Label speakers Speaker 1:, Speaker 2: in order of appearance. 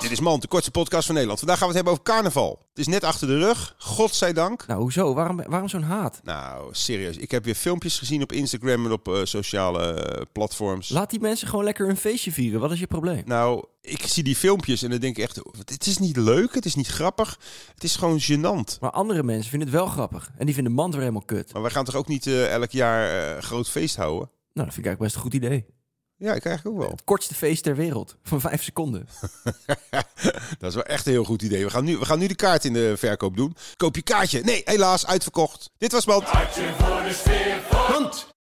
Speaker 1: Dit is Man, de kortste podcast van Nederland. Vandaag gaan we het hebben over carnaval. Het is net achter de rug, godzijdank.
Speaker 2: Nou, hoezo? Waarom, waarom zo'n haat?
Speaker 1: Nou, serieus. Ik heb weer filmpjes gezien op Instagram en op eh, sociale eh, platforms.
Speaker 2: Laat die mensen gewoon lekker een feestje vieren. Wat is je probleem?
Speaker 1: Nou, ik zie die filmpjes en dan denk ik echt... Het is niet leuk, het is niet grappig. Het is gewoon gênant.
Speaker 2: Maar andere mensen vinden het wel grappig. En die vinden mand weer helemaal kut.
Speaker 1: Maar wij gaan toch ook niet eh, elk jaar eh, groot feest houden?
Speaker 2: Nou, dat vind ik eigenlijk best een goed idee.
Speaker 1: Ja, ik eigenlijk ook wel.
Speaker 2: Het kortste feest ter wereld. Van vijf seconden.
Speaker 1: Dat is wel echt een heel goed idee. We gaan nu, we gaan nu de kaart in de verkoop doen. Koop je kaartje. Nee, helaas, uitverkocht. Dit was Man.
Speaker 3: Hartje voor de sfeer